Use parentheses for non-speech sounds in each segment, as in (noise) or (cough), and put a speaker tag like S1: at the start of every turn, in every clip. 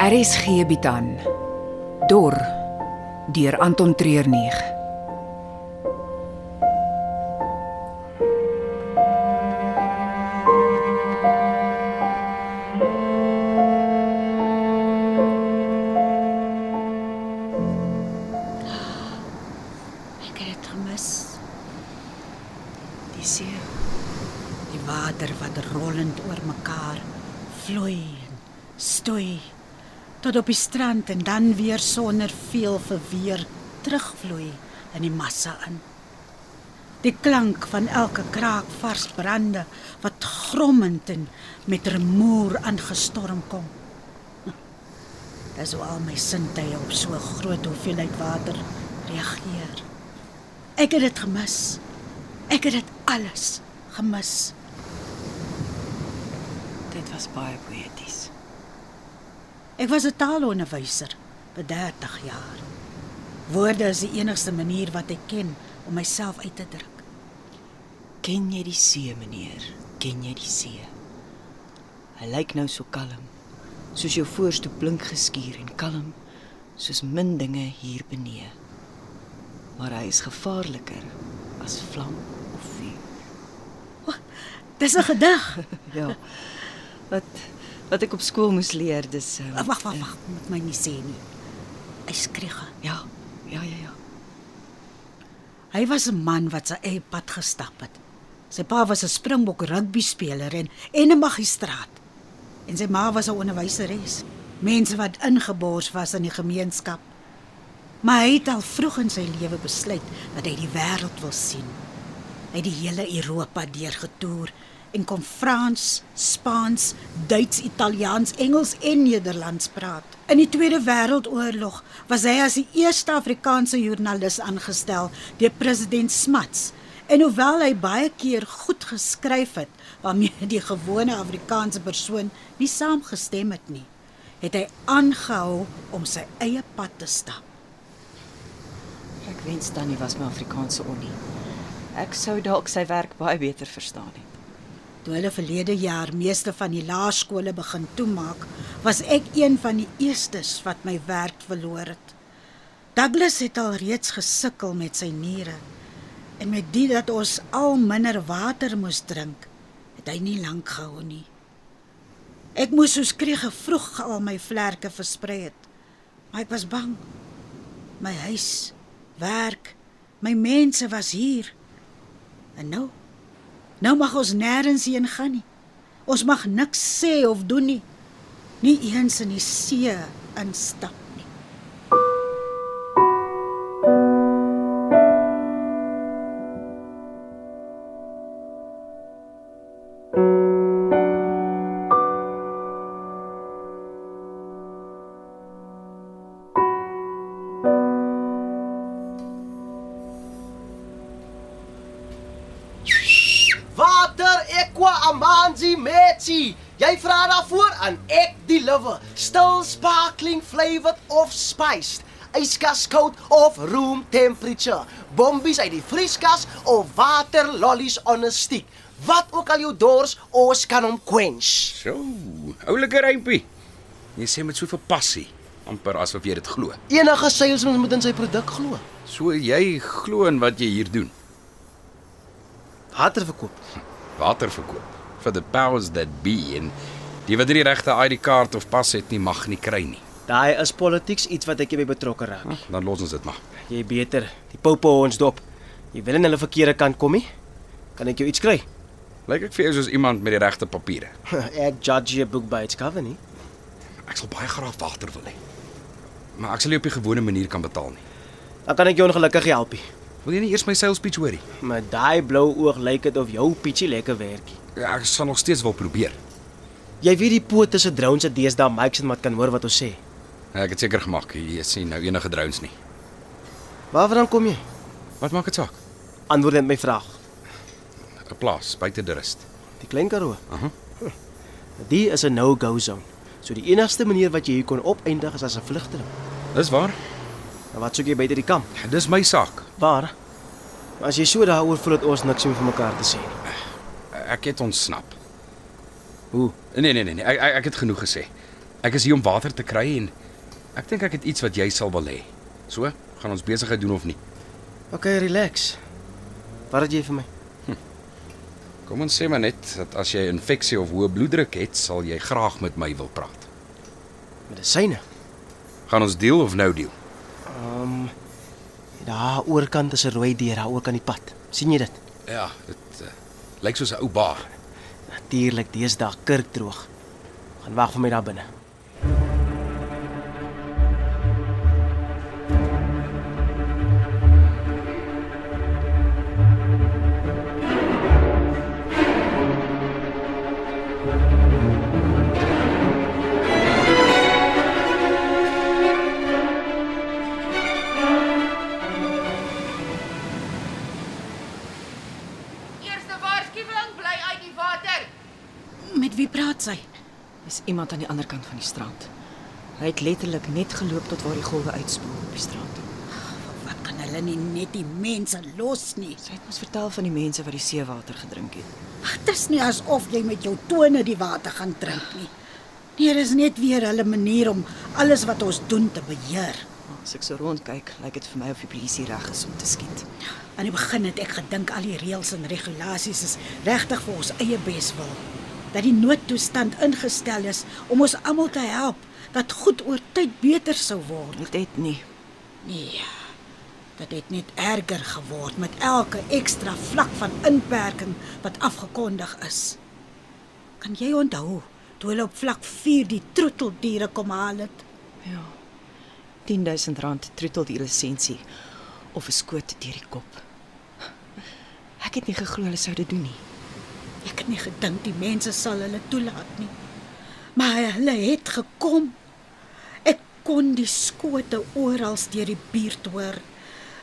S1: RSG bied aan Dor deur Anton Treuer 9.
S2: Ek het dit gemis.
S3: Die see, die water wat rollend oor mekaar vloei en stoei tot op die strand en dan weer sonder veel verweer terugvloei in die massa in. Die klank van elke kraak vars brande wat grommend en met rumoer aangestorm kom. (laughs) Dis hoe al my sintuie op so 'n groot hoeveelheid water reageer. Ek het dit gemis. Ek het dit alles gemis.
S2: Dit was baie poeties.
S3: Ek was 'n taalonderwyser vir 30 jaar. Woorde is die enigste manier wat ek ken om myself uit te druk.
S2: Ken jy die see, meneer? Ken jy die see? Hy lyk nou so kalm, soos jou voorste blink geskuur en kalm, soos min dinge hier benee. Maar hy is gevaarliker as vlam of vuur.
S3: Dis 'n gedig.
S2: Ja. Wat wat ek op skool moes leer, dis um,
S3: Wag, wag, wag, moet my nie sê nie. Hy skreeu.
S2: Ja. Ja, ja, ja.
S3: Hy was 'n man wat sy eie pad gestap het. Sy pa was 'n Springbok rugby speler en en 'n magistraat. En sy ma was 'n onderwyseres. Mense wat ingebors was in die gemeenskap. Maar hy het al vroeg in sy lewe besluit dat hy die wêreld wil sien. Hy het die hele Europa deurgetoer en kon Frans, Spaans, Duits, Italiaans, Engels en Nederlands praat. In die Tweede Wêreldoorlog was hy as die eerste Afrikaanse joernalis aangestel deur president Smuts. En hoewel hy baie keer goed geskryf het waarmee die gewone Afrikaanse persoon nie saamgestem het nie, het hy aangehou om sy eie pad te stap.
S2: Ek wens dan nie was my Afrikaanse onnie. Ek sou dalk sy werk baie beter verstaan het.
S3: Toe hulle verlede jaar meeste van die laerskole begin toemaak, was ek een van die eerstes wat my werk verloor het. Douglas het al reeds gesukkel met sy niere en met dit dat ons al minder water moes drink, het hy nie lank gehou nie. Ek moes soos kreeg vroeg al my vlerke versprei het, maar ek was bang. My huis, werk, my mense was hier. En nou Nou mag ons nêrens heen gaan nie. Ons mag niks sê of doen nie. Nie eens in die see instap nie.
S4: Water Equa Amanzi Metsi. Jy vra daarvoor aan ek deliver. Still sparkling flavored of spiced. Yskas koud of room temperature. Bombies uit die vrieskas of water lollies on 'n stick. Wat ook al jou dors, ons kan hom quench.
S5: So, oulike rympie. Jy sê met soveel passie, amper asof jy dit glo.
S4: Enige salesman moet in sy produk glo.
S5: So jy glo in wat jy hier doen.
S4: Water verkoop.
S5: Water verkoop vir the powers that be en die wat nie die regte ID-kaart of pas het nie mag nie kry nie.
S6: Daai is politiek iets wat ek nie by betrokke raak.
S5: Dan los ons dit maar.
S6: Jy beter, die poupo ons dop. Jy wil aan hulle verkeerde kant kom nie? Kan ek jou iets kry?
S5: Lyk ek vir jou soos iemand met die regte papiere.
S6: ek judge jou boek by its cover nie.
S5: Ek sal baie graag water wil hê. Maar ek sal jou op die gewone manier kan betaal nie.
S6: Dan kan ek jou ongelukkig help. nie.
S5: Wil jy nie eers my sales pitch hoorie?
S6: Maar daai blou oog lyk dit of jou pitchie lekker werkie.
S5: Ja, ek sal nog steeds wil probeer.
S6: Jy weet die poot tussen drones se deesdae mics en wat kan hoor wat ons sê.
S5: Ek het seker gemaak jy sien nou enige drones nie.
S6: Waarvandaan kom jy?
S5: Wat maak dit saak?
S6: Antwoord net my vraag.
S5: 'n Plaas buite die rust.
S6: Die klein Karoo.
S5: Aha.
S6: Huh. Die is 'n no-go zone. So die enigste manier wat jy hier kon opeindig is as 'n vlugteling.
S5: Dis waar.
S6: Nou wat soek jy buite die kamp?
S5: Ja, Dis my saak.
S6: Waar? As jy so daaroor voel dat ons niks meer vir mekaar te sê nie.
S5: Ek het ontsnap.
S6: Hoe?
S5: Nee nee nee, nee. Ek, ek ek het genoeg gesê. Ek is hier om water te kry en ek dink ek het iets wat jy sal wil hê. So, gaan ons besigheid doen of nie?
S6: Okay, relax. Wat het jy vir my?
S5: Kom ons sê maar net dat as jy infeksie of hoë bloeddruk het, sal jy graag met my wil praat.
S6: Medisyne.
S5: Gaan ons deel of nou deel?
S6: Ehm, Daar oorkant is 'n rooi deur, daar oor kan die pad. sien jy dit?
S5: Ja, dit uh, lyk soos 'n ou baar.
S6: Natuurlik, deesdae kerk droog. Gaan wag vir my daar binne.
S7: Eerste waarskuwing, bly uit die water.
S3: Met wie praat sy?
S2: Is iemand aan die ander kant van die strand. Hy het letterlik net geloop tot waar die golwe uitspoel op die strand.
S3: Wat kan hulle nie net die mense los nie?
S2: Sy het ons vertel van die mense wat die seewater gedrink het.
S3: Dit is nie asof jy met jou tone die water gaan drink nie. Nee, dis net weer hulle manier om alles wat ons doen te beheer.
S2: Maar As ek so rondkyk, lyk dit vir my of die polisie reg is om te skiet.
S3: Aan die begin het ek gedink al die reëls en regulasies is regtig vir ons eie beswil. Dat die noodtoestand ingestel is om ons almal te help, dat goed oor tyd beter sou word.
S2: Dit het nie.
S3: Nee. Dit het net erger geword met elke ekstra vlak van inperking wat afgekondig is. Kan jy onthou toe hulle op vlak 4 die troeteldiere kom haal het?
S2: Ja. 10000 rand trutel die lisensie of 'n skoot deur die kop. Ek het nie geglo hulle sou dit doen nie.
S3: Ek het nie gedink die mense sal hulle toelaat nie. Maar hulle het gekom. Ek kon die skote oral deur die buurt hoor.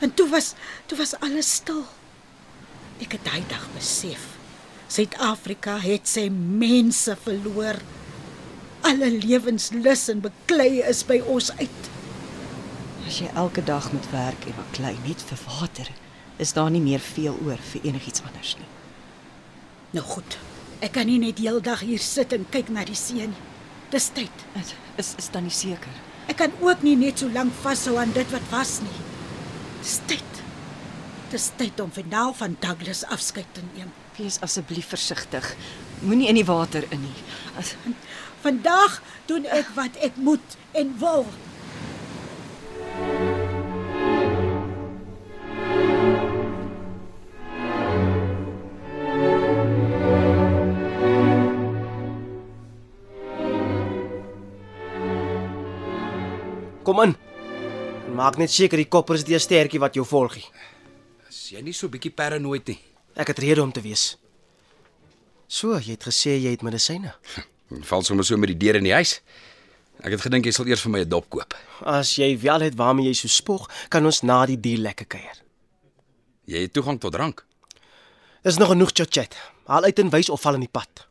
S3: En toe was toe was alles stil. Ek het daai dag besef. Suid-Afrika het sy mense verloor. Alle lewenslus en beklei is by ons uit.
S2: As jy elke dag moet werk en baklei net vir water, is daar nie meer veel oor vir enigiets anders nie.
S3: Nou goed. Ek kan nie net heeldag hier sit en kyk na die see nie. Dis tyd.
S2: Dit is is dan nie seker.
S3: Ek kan ook nie net so lank vashou aan dit wat was nie. Dis tyd. Dis tyd om finaal van Douglas afskeid te neem.
S2: Wees asseblief versigtig. Moenie in die water in nie. As,
S3: Vandag doen ek wat ek moet en wil.
S6: Kom in. En maak net seker die kopper is die sterkie wat jou volgie.
S5: Is jy nie so bietjie paranoid nie?
S6: Ek het rede om te wees. So, jy het gesê jy het medisyne.
S5: Jy Hm, val sommer so met die deur in die huis. Ek het gedink jy sal eers vir my 'n dop koop.
S6: As jy wel het waarmee jy so spog, kan ons na die deal lekker kuier.
S5: Jy het toegang tot drank.
S6: Dis nog genoeg chit-chat. Haal uit en wys of val in die pad.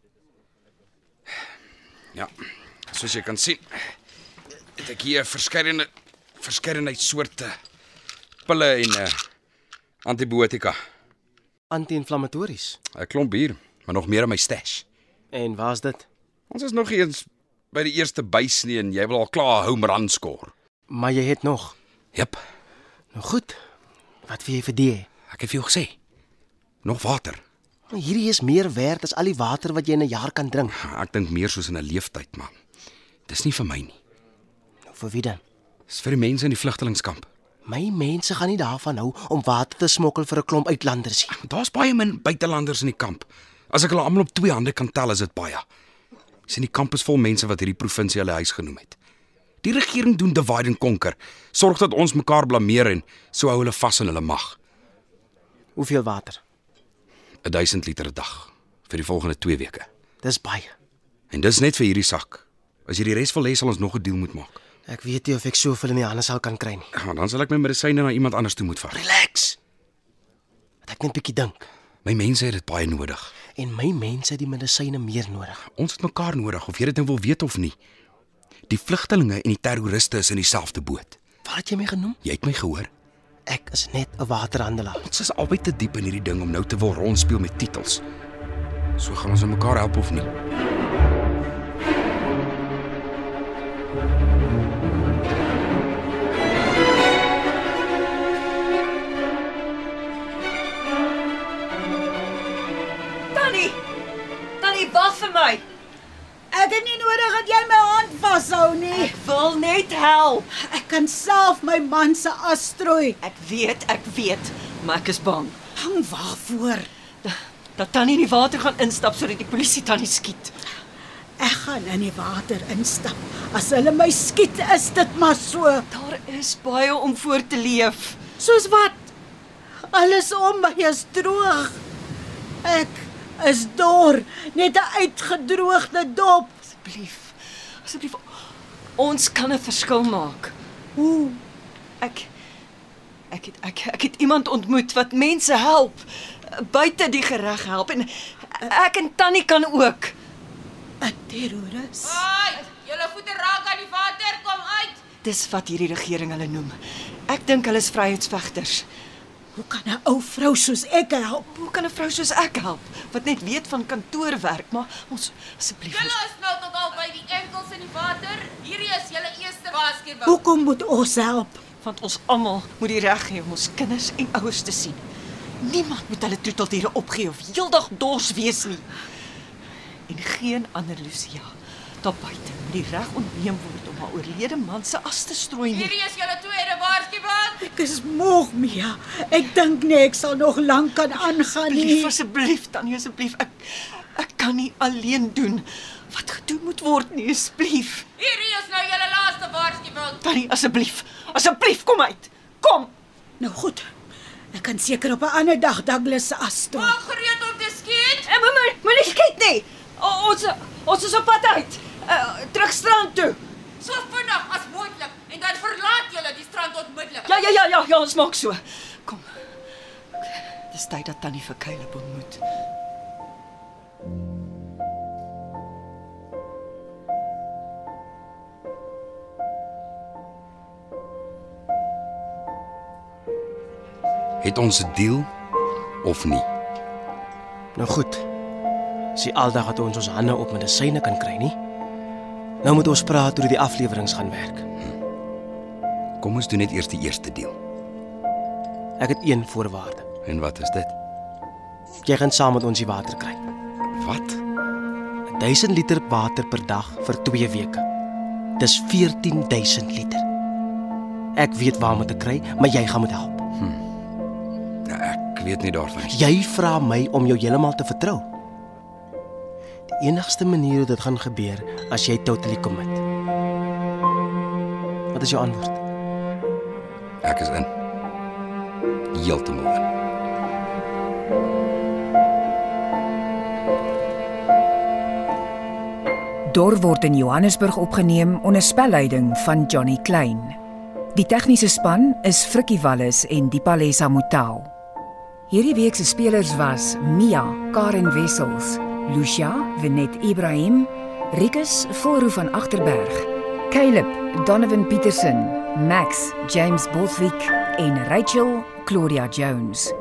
S5: Ja. Soos jy kan sien, het ek hier verskeidene verskeidenheid soorte pille en uh, antibiotika.
S6: Anti-inflammatories.
S5: 'n Klomp bier, maar nog meer in my stash.
S6: En waar's dit?
S5: Ons is nog nie eens by die eerste bys nie en jy wil al klaar 'n home run skoor.
S6: Maar jy het nog.
S5: Jep.
S6: Nou goed. Wat wil jy vir die?
S5: Ek het vir jou gesê. Nog water.
S6: Maar Hierdie is meer werd as al die water wat jy in 'n jaar kan drink.
S5: Ek dink meer soos in 'n leeftyd, man. Dis nie vir my nie.
S6: Nou vir wie dan?
S5: Dis vir die mense in die vlugtelingkamp.
S6: My mense gaan nie daarvan hou om water te smokkel vir 'n klomp uitlanders nie.
S5: Daar's baie min buitelanders in die kamp. As ek hulle almal op twee hande kan tel, is dit baie. Sien, die kamp is vol mense wat hierdie provinsie hulle huis genoem het. Die regering doen divide and conquer. Sorg dat ons mekaar blameer en so hou hulle vas in hulle mag.
S6: Hoeveel water?
S5: 1000 liter 'n dag vir die volgende 2 weke.
S6: Dis baie.
S5: En dis net vir hierdie sak. As jy die res wil hê, sal ons nog 'n deal moet maak.
S6: Ek weet nie of ek soveel in die hande sal kan kry nie.
S5: Ja, dan sal ek my medisyne na iemand anders toe moet vat.
S6: Relax. Wat ek net 'n bietjie dink.
S5: My mense het dit baie nodig.
S6: En my mense het die medisyne meer nodig.
S5: Ons het mekaar nodig, of jy dit nou wil weet of nie. Die vlugtelinge en die terroriste is in dieselfde boot.
S6: Wat het jy my genoem?
S5: Jy het my gehoor?
S6: Ek is net 'n waterhandelaar.
S5: Ons is albei te diep in hierdie ding om nou te wil rondspeel met titels. So gaan ons mekaar help of nie.
S8: Tannie. Tannie wag vir my.
S3: Ek het nie nodig dat jy my hand vashou
S2: Nee,
S3: nie.
S8: Ek wil net help.
S3: Ek kan self my man se as strooi.
S8: Ek weet, ek weet, maar ek is bang
S3: Hang waarvoor?
S8: dat Tannie in die water gaan instap sodat die polisie Tannie skiet.
S3: Ek gaan in die water instap. As hulle my skiet, is dit maar so.
S8: Daar is baie om voor te leef.
S3: Soos wat? Alles om my is droog. Ek is dor, net 'n uitgedroogde dop.
S8: Asseblief. Asseblief. Ons kan 'n verskil maak.
S3: Hoe?
S8: Ek ek het ek ek het iemand ontmoet wat mense help buite die gereg help en ek en Tannie kan ook.
S3: 'n Terroris.
S7: Ai, julle voete raak aan die water, kom uit.
S8: Dis wat hierdie regering hulle noem. Ek dink hulle is vryheidsvegters.
S3: Hoe kan 'n ou vrou soos ek help?
S8: Hoe kan 'n vrou soos ek help wat net weet van kantoorwerk, maar ons asseblief.
S7: Julle
S8: ons-
S7: is nou tot al by die enkels in die water. Hierdie is julle eerste waarskuwing.
S3: Hoekom moet ons help?
S8: Want ons almal moet die reg hê om ons kinders en ouers te sien. Niemand moet hulle troeteldiere opgee of heeldag dors wees nie. En geen ander Lucia daar buite moet die reg ontneem word om haar oorlede man se as te strooi nie.
S7: Hierdie is julle tweede waarskuwing.
S3: Ek is moeg, Mia. Ek dink nie ek sal nog lank kan aangaan
S8: Asseblief,
S3: nie.
S8: asseblief, tannie, asseblief. Ek ek kan nie alleen doen wat gedoen moet word nie, asseblief.
S7: Hierdie is nou julle laaste waarskuwing.
S8: Tannie, asseblief. Asseblief kom uit. Kom.
S3: Nou goed. Ek kan seker op 'n ander dag Douglas se as strooi.
S7: Maak gereed om te skiet.
S8: En moenie moenie skiet nie. O, ons ons is op pad uit. Uh, terug strand toe.
S7: So vinnig as moontlik en dan verlaat julle die strand onmiddellik.
S8: Ja, ja, ja, ja, ja, ons maak so. Kom. Dis tyd dat tannie vir Caleb ontmoet.
S5: Het ons 'n deal of nie?
S6: Nou goed. Sy aldag het ons ons hande op medisyne kan kry nie. Nou moet ons praat oor hoe die afleweringe gaan werk.
S5: Kom ons doen net eers die eerste deal.
S6: Ek het een voorwaarde.
S5: En wat is dit?
S6: Jy gaan saam met ons die water kry.
S5: Wat?
S6: 1000 liter water per dag vir 2 weke. Dis 14000 liter. Ek weet waar om dit te kry, maar jy gaan moet help.
S5: Nou, ek weet nie daarvan nie.
S6: Jy vra my om jou heeltemal te vertrou. Die enigste manier hoe dit gaan gebeur as jy totally commit. Wat is jou antwoord?
S5: Ek is in. Heeltemal in.
S1: Dor word in Johannesburg opgeneem onder spelleiding van Johnny Klein. Die tegniese span is Frikkie Wallis en Dipalesa Motelo. Hierdie week se spelers was Mia, Karen Wessels, Lucia, Venet Ibrahim, Rikus Voorhoof van Agterberg, Caleb, Donovan Petersen, Max, James Botwick en Rachel Claudia Jones.